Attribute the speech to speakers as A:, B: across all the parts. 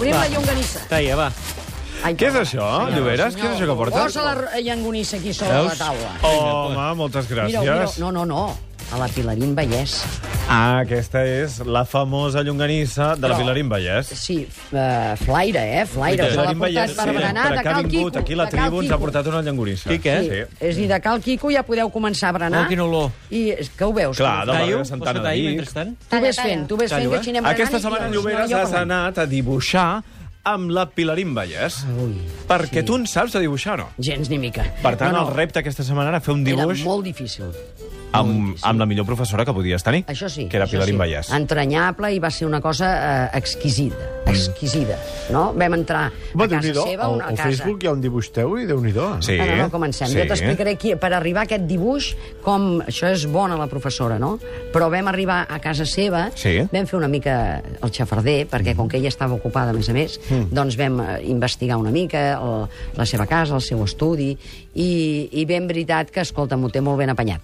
A: la llonganissa.
B: Taia, va.
A: Ai,
C: Què és
A: perdó,
C: això,
A: senyora,
C: Lloberes?
A: senyor.
C: Què és això que portes?
A: Posa la r- eh, llonganissa aquí sobre la taula.
C: Home, moltes gràcies.
A: Mira, mira, no, no, no. A la Pilarín Vallès.
C: Ah, aquesta és la famosa llonganissa de la
A: Però-
C: Vilarín Vallès.
A: Sí, uh, flaire, eh? Flaire.
C: La
A: Se l'ha
C: Vilarín
A: portat per berenar
C: per
A: de
C: que ha
A: Cal
C: vingut
A: Quico.
C: aquí a la
A: de Cal
C: tribu ens ha
A: Quico.
C: portat una llonganissa.
B: Sí, què?
C: Sí.
A: És a dir, de Cal Quico ja podeu començar a berenar.
B: Oh, quina olor.
A: I és que ho veus?
C: Clar,
A: tu?
C: del barri
B: Taiu,
C: de
B: pots
C: Santana
B: fer
C: de
B: taia
C: Vic.
B: mentrestant?
A: Tu ves fent, tu ves fent
B: Callo,
A: que
B: eh?
A: així anem berenant.
C: Aquesta
A: i
C: setmana,
A: els-
C: Lloberes,
A: no, jo
C: has
A: parlant.
C: anat a dibuixar amb la Pilarín Vallès. Perquè tu en saps de dibuixar, no?
A: Gens ni mica.
C: Per tant,
A: No, no,
C: el repte aquesta setmana era fer un
A: Era
C: dibuix
A: molt difícil.
C: amb, amb la millor professora que podies tenir.
A: Això sí.
C: Que era
A: això
C: Pilarín
A: sí.
C: Vallès. Mm.
A: Entranyable i va ser una cosa eh, exquisida. Exquisida, no? Vam entrar
D: Va,
A: a casa
D: Déu-n'hi-do,
A: seva,
D: al,
A: una
D: al
A: casa...
D: Facebook hi ha un dibuix teu i Déu-n'hi-do. eh?
C: Sí.
A: No, no, no, comencem.
C: Sí.
A: Jo t'explicaré qui, per arribar a aquest dibuix, com... Això és bona la professora, no? Però vam arribar a casa seva,
C: Sí. Mm.
A: vam fer una mica el xafarder, perquè com que ella estava ocupada, a més a més, doncs vam eh, investigar una mica el, la seva casa, el seu estudi, i, i ben veritat que, escolta, m'ho té molt ben apanyat.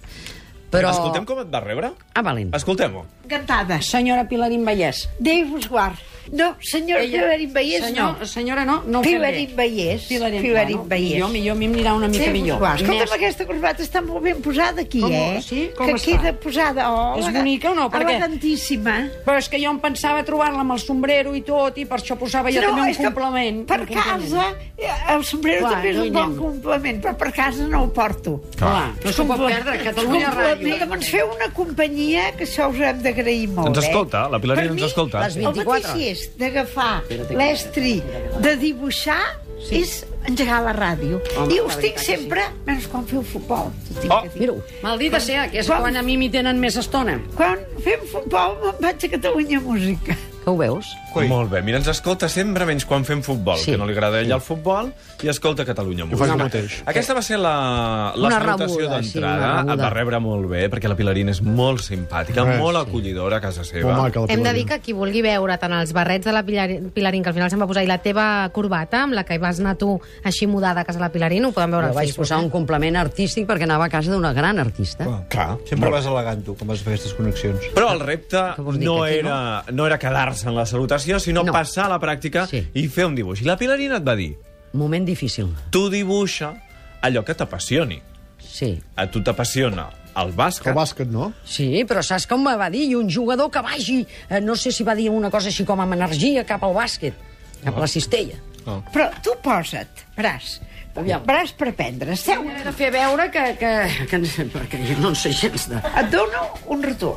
A: Però...
C: Escoltem com et va rebre?
A: Ah, valent.
C: Escoltem-ho.
E: Encantada.
A: Senyora Pilarín Vallès.
E: Déu vos guard. No, senyor Ella... Pilarín Vallès,
A: senyor,
E: no.
A: Senyora, no, no ho
E: Pilarín
A: fem bé.
E: Vallès.
A: Pilarín,
E: Pilarín
A: bueno,
E: Vallès.
A: Millor, millor, a mi em anirà una mica
E: Déu vos
A: millor.
E: guard. Escolta'm,
A: Més-
E: aquesta corbata està molt ben posada aquí,
A: Com-
E: eh?
A: sí? Com
E: que
A: es fa?
E: queda posada. Oh,
A: És bonica o no? Per què?
E: Elegantíssima.
A: Però és que jo em pensava trobar-la amb el sombrero i tot, i per això posava jo també un
E: és que
A: complement.
E: Per
A: un complement.
E: casa, eh, el sombrero
A: Clar,
E: també és
A: no hi
E: un bon
A: anem.
E: complement, però per casa no ho porto.
A: Clar, no s'ho pot
E: Complement-
A: perdre, Catalunya
E: complement.
A: Ràdio.
E: Doncs feu una companyia que això us hem d'agrair molt,
C: Ens
E: eh?
C: escolta, la Pilarín
E: Per
C: ens
E: mi,
C: escolta.
A: les
E: El
A: 24.
E: mateix és d'agafar
A: Espera't que-
E: l'estri, de dibuixar, sí. és engegar la ràdio.
A: Home,
E: I
A: la
E: us
A: veritat
E: tinc
A: que
E: sempre, menys quan feu futbol. t'ho tinc
C: Oh.
E: que dir.
A: Mira-ho. Maldita sea, que és
E: Com?
A: quan a mi m'hi tenen més estona.
E: Quan fem futbol me'n vaig a Catalunya Música.
A: Que ho veus?
C: Coi. Molt bé, mira, ens escolta sempre menys quan fem futbol,
A: Sí.
C: sí. que no li agrada a ell el futbol, i escolta Catalunya Música.
D: faci el
C: Home,
D: mateix.
C: Aquesta va ser la, la
A: Una
C: salutació
A: rebuda, sí, una
C: d'entrada.
A: rebuda.
C: Et va rebre molt bé, perquè la Pilarín és molt simpàtica,
D: Res,
C: molt
D: sí.
C: acollidora a casa seva.
D: Molt maca, la
F: Hem de
D: Pilarín.
F: dir que qui vulgui veure tant els barrets de la Pilarín, Pilarín que al final se'n va posar, i la teva corbata, amb la que vas anar tu així mudada a casa de la Pilarín, ho podem veure
A: Jo
F: al
A: vaig
F: Facebook.
A: posar un complement artístic perquè anava a casa d'una gran artista.
C: Clar,
G: Sempre vas elegant, tu, com vas fer aquestes connexions.
C: Però el repte
A: Que vols dir,
C: no
A: que aquí no?
C: era, no era quedar-se en la salutació, sinó
A: No.
C: no. passar a la pràctica
A: Sí.
C: sí. i fer un dibuix. I la Pilarín et va dir,
A: Moment difícil.
C: tu dibuixa allò que t'apassioni.
A: Sí.
C: A tu t'apassiona el bàsquet.
D: El bàsquet, no?
A: Sí, però saps com me va dir? I un jugador que vagi, eh, no sé si va dir una cosa així com amb energia cap al bàsquet, cap a la cistella.
E: Però tu posa't, braç.
A: Aviam.
E: Braç per prendre. Seu,
A: He de fer veure que, que, que, que jo no en sé gens de...
E: et dono un rotó.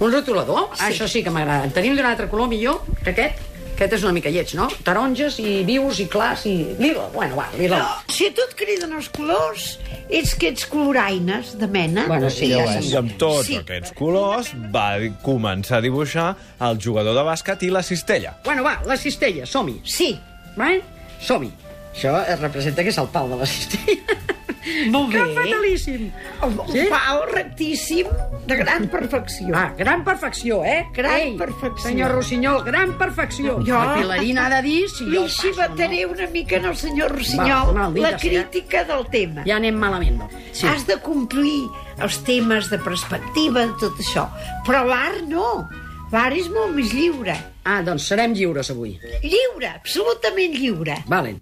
A: Un rotulador? Sí. Això sí que m'agrada. En tenim d'un altre color millor que aquest? Aquest és una mica lleig, no? Taronges i vius i clars i lila. Bueno, va, lila. No.
E: Si a tu et criden els colors, ets que ets coloraines de mena.
A: Bueno, sí, ja ho és.
C: I amb tots sí. aquests colors va començar a dibuixar el jugador de bàsquet i la cistella.
A: Bueno, va, la cistella, som-hi.
E: Sí,
A: Right? Som-hi. Això eh, representa que és el pal de la cistella.
E: molt bé.
A: Que fatalíssim.
E: Un sí? pal rectíssim, de gran perfecció.
A: Ah, gran perfecció, eh?
E: Gran perfecció.
A: Senyor Rossinyol, gran perfecció.
E: Jo-
A: La Pilarina ha de dir si
E: Li
A: jo passo,
E: xivataré una mica al senyor
A: Va,
E: Rossinyol
A: maldita sea.
E: la crítica del tema.
A: no? Ja anem malament. Ah,
E: Sí. Has de complir els temes de perspectiva, de tot això. Però l'art no. L'art és molt més lliure.
A: Ah, doncs serem lliures avui.
E: Lliure, absolutament lliure.
A: Valen.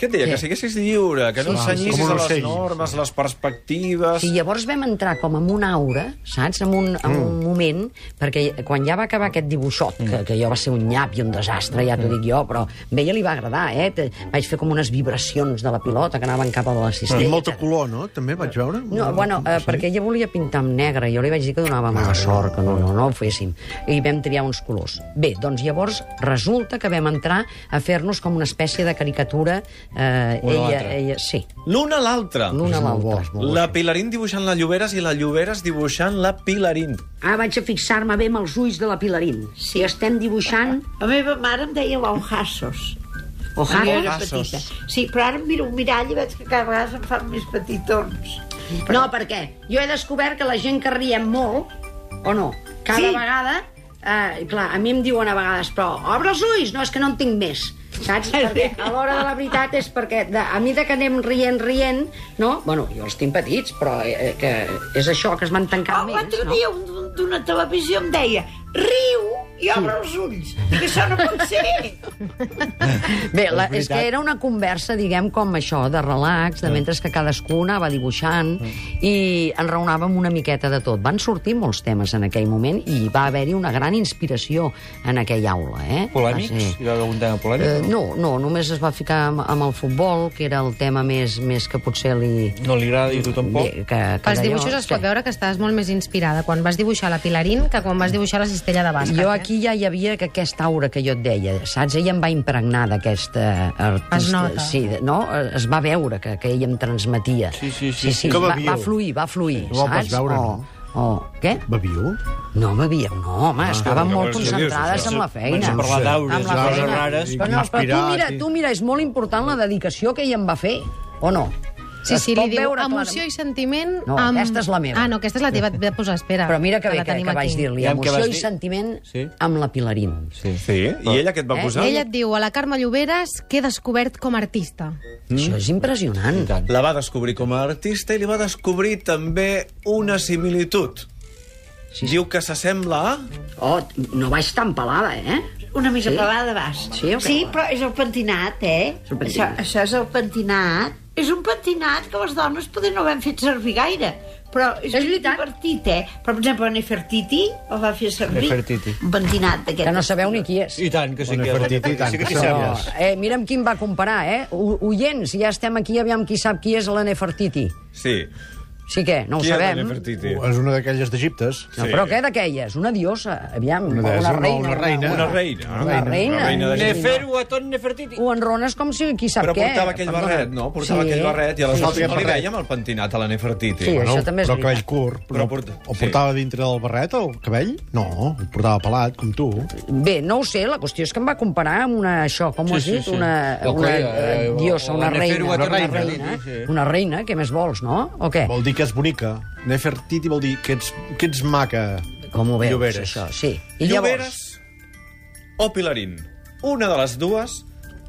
C: Què et deia?
A: Què?
C: Que siguessis lliure, que no
A: Sí, sí,
C: ensenyissis
D: com un
C: a les
D: ocell.
C: normes, les perspectives...
A: Sí, llavors vam entrar com en una aura, saps? En un, en un moment, perquè quan ja va acabar aquest dibuixot, que, que jo va ser un nyap i un desastre, ja t'ho dic jo, però a ella li va agradar, eh? Te- Vaig fer com unes vibracions de la pilota que anaven cap a la
D: Sí.
A: cistella.
D: Molta color, no? També vaig veure.
A: No, bueno, eh, perquè ella volia pintar amb negre, jo li vaig dir que donava mala sort, que no, no, no ho féssim. I vam triar uns colors. Bé, doncs llavors resulta que vam entrar a fer-nos com una espècie de caricatura. Eh, ella, ella, sí,
C: L'una a l'altra.
A: l'una a
D: molt bo,
A: l'altra.
D: és molt bo.
C: La Pilarín dibuixant la Lloberes i la Lloberes dibuixant la Pilarín.
A: Ah, vaig a fixar-me bé amb els ulls de la Pilarín. Si estem dibuixant...
E: La meva mare em deia l'Ojassos. Quan jo era
C: Ojassos.
E: petita. Sí, però ara em miro un mirall i veig que cada vegada se'n fan més petitons.
A: No, perquè jo he descobert que la gent que riem molt, o no, cada
E: Sí.
A: vegada... Eh, clar, a mi em diuen a vegades, però obre els ulls, no, és que no en tinc més. Saps? Perquè a l'hora de la veritat és perquè de, a mida que anem rient, rient, no? Bueno, jo els tinc petits, però eh, que és això, que es van tancant
E: Oh,
A: més,
E: L'altre
A: no?
E: dia un d'un- d'una televisió em deia riu i obre els ulls, que això no pot ser.
A: Bé, la,
G: És
A: és, que
G: veritat.
A: era una conversa, diguem, com això, de relax, de mentre que cadascú anava dibuixant i enraonàvem una miqueta de tot. Van sortir molts temes en aquell moment i va haver-hi una gran inspiració en aquella aula, eh? Va
G: Polèmics?
A: ser-
G: Hi va haver algun tema
A: Eh,
G: polèmic?
A: no, no, només es va ficar amb, amb el futbol, que era el tema més, més que potser li...
G: No li agrada i a tothom poc?
A: Bé, que, que
F: Pels
A: deia,
F: dibuixos es pot
A: sí.
F: veure que estàs molt més inspirada quan vas dibuixar la Pilarín que quan vas dibuixar la cistella de bàsquet.
A: Jo
F: eh?
A: aquí ja hi havia que aquesta aura que jo et deia, saps? Ella em va impregnar d'aquesta artista.
F: Es nota.
A: Sí, de- no? Es va veure que, que ella em transmetia.
G: Sí, sí, sí,
A: sí,
G: sí.
D: Que
A: va,
D: bevíeu.
A: va fluir, va fluir,
D: ho vas
A: saps?
D: veure,
A: o, o, què?
D: Beviu?
A: No bebíeu, no, home, estàvem
C: però
A: molt
C: llavors què dius,
A: concentrades
C: això?
A: amb la feina.
G: Comença a parlar d'aures,
A: Amb la
G: coses
A: feina.
G: rares.
A: Però, no, però tu,
D: Inspirat,
A: mira,
D: i-
A: tu mira, és molt important la dedicació que ella em va fer, o no?
F: Sí,
A: Es
F: sí,
A: pot
F: li diu
A: veure tota
F: emoció i sentiment...
A: No,
F: amb...
A: aquesta és la meva.
F: Ah, no, aquesta és la teva, et ve a posar, espera.
A: Però mira que bé
F: la
A: que,
F: tenim
A: que vaig
F: aquí.
A: dir-li,
G: I amb què
A: emoció
G: vas
A: i
G: dir?
A: sentiment
G: Sí.
A: amb la Pilarín.
G: Sí.
C: Sí, i ella què et va
A: Eh?
C: posar?
F: Ella et diu, a la Carme Lloberes, que he descobert com a artista.
A: Això és impressionant.
G: tant.
C: La va descobrir com a artista i li va descobrir també una similitud.
A: Sí, sí.
C: Diu que s'assembla a...
A: Oh, no vaig tan pelada, eh?
E: Una mica
A: Sí?
E: sí? pelada vas.
A: Sí, o què?
E: sí, però és el pentinat, eh?
A: És el pentinat.
E: Això, això és el pentinat. És un pentinat que les dones poder no ho hem fet servir gaire. Però és,
A: És
E: ben
A: veritat.
E: divertit, eh? Però, per exemple, Nefertiti el va fer servir.
G: Nefertiti.
E: Un pentinat d'aquest.
A: Que no sabeu ni qui és.
G: I tant, que sí
D: Bona
G: que...
D: Nefertiti, i tant,
G: Sí que
D: que
G: t'hi
D: sembla.
G: sembles.
A: Eh, mira amb qui em va comparar, eh? O- Oients, ja estem aquí, aviam qui sap qui és la Nefertiti.
C: Sí.
A: Sí que, no ho
C: Qui era
A: sabem.
C: Nefertiti?
D: És una d'aquelles d'Egiptes.
A: No, però què d'aquella? És una diosa, aviam, una,
D: Una diosa, no,
A: reina.
D: una reina.
C: Una reina.
A: Una reina.
C: Una reina de
A: Nefer-
G: Neferu a tot Nefertiti.
A: Ho enrones com si qui sap
C: Però
A: què.
C: portava aquell
A: Perdona.
C: barret, no? Portava
A: Sí.
C: aquell barret i aleshores
D: Sí, sí.
C: no li veiem el pentinat a la Nefertiti.
A: Sí, això també és
D: però
A: veritat.
D: cabell curt.
C: Però
D: Però,
C: porta-
D: o
C: sí.
D: portava dintre del barret el cabell? No, el portava pelat, com tu.
A: Bé, no ho sé, la qüestió és que em va comparar amb una, això, com ho has
G: Sí, sí,
A: dit,
G: sí.
A: una,
G: La
A: una
G: colla,
A: eh,
G: eh,
A: diosa,
G: o
A: una
G: la
A: reina.
G: Neferu,
A: Una
G: una
A: reina,
G: reina, sí, sí.
A: una reina, què més vols, no? O què?
D: Vol dir que és bonica. Nefertiti vol dir que ets, que ets maca.
A: Com ho veus,
D: Lloberes.
A: això? Sí. I llavors...
C: Lloberes o Pilarín. Una de les dues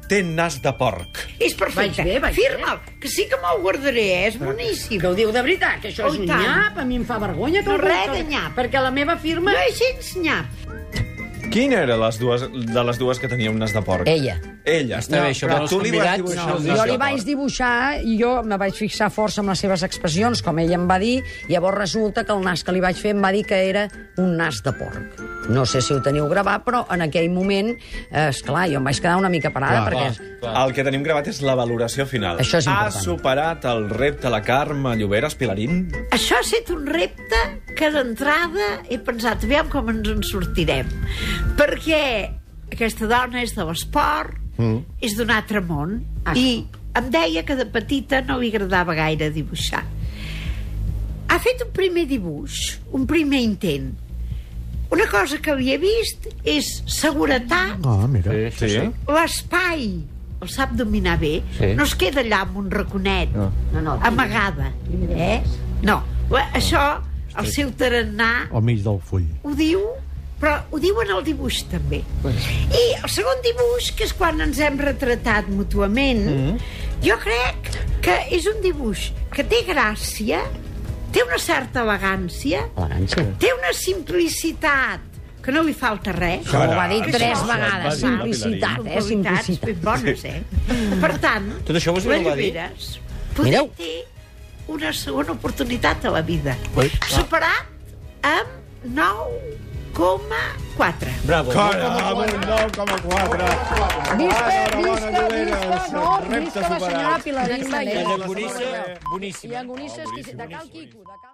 C: té nas de porc.
E: És perfecte.
A: Vaig bé, vaig
E: Firma'l, que sí que me'l guardaré, eh? és boníssim.
A: Que ho diu de veritat, que això
E: Oh,
A: és
E: i
A: un
E: tant.
A: nyap, a mi em fa vergonya que
E: No,
A: algú-
E: res de nyap.
A: Perquè la meva firma...
E: No és gens nyap.
C: Quina era les dues, de les dues que tenia un nas de porc?
A: Ella.
C: Ella.
G: Està bé, això,
C: Però
G: però els
C: tu li vas
G: convidats
C: dibuixar
G: no.
C: un nas
A: Jo
C: de
A: li vaig
C: porc.
A: dibuixar i jo me vaig fixar força amb les seves expressions, com ell em va dir, i llavors resulta que el nas que li vaig fer em va dir que era un nas de porc. No sé si ho teniu gravat, però en aquell moment, és clar, jo em vaig quedar una mica parada,
D: Clar.
A: perquè...
C: El que tenim gravat és la valoració final.
A: Això és
C: ha
A: important.
C: superat el repte la Carme Lloberes Pilarín?
E: Això ha estat un repte que d'entrada he pensat, aviam com ens en sortirem. Perquè aquesta dona és de l'esport, mm. és d'un altre món,
A: Ah.
E: ah. i em deia que de petita no li agradava gaire dibuixar. Ha fet un primer dibuix, un primer intent. Una cosa que havia vist és seguretat,
D: Ah, mira.
C: Sí. sí.
E: l'espai, el sap dominar bé,
G: Sí.
E: sí. no es queda allà amb un raconet.
G: No.
A: No, no,
E: amagada. Eh? No, la- això, el seu tarannà
D: Al mig del full.
E: ho diu, però ho diu en el dibuix també. I el segon dibuix, que és quan ens hem retratat mútuament,
G: Mm.
E: jo crec que és un dibuix que té gràcia, té una certa elegància,
A: Elegància.
E: té una simplicitat, que no li falta res.
A: Això ho va dir
E: Que
A: tres
E: això-
A: vegades,
E: Va dir la
A: simplicitat, eh?
E: Qualitats ben
A: Simplicitat.
E: bones, eh? Per tant,
G: Tot això ho has
E: la
G: dit, ho va dir?
E: Lloberes podria
A: Mireu.
E: té una segona oportunitat a la vida.
D: Ui.
E: Superat amb 9,4.
G: Bravo.
D: Amb un 9,4.
A: Visca,
D: Ah,
A: visca,
D: Lloberes.
A: visca, no,
D: Repte
A: visca la senyora
D: superat.
A: Pilarín.
F: Una excel·lent.
A: Vallet. I
G: Llagonissa, boníssima.
A: agonisses, de cal Quico, de cal...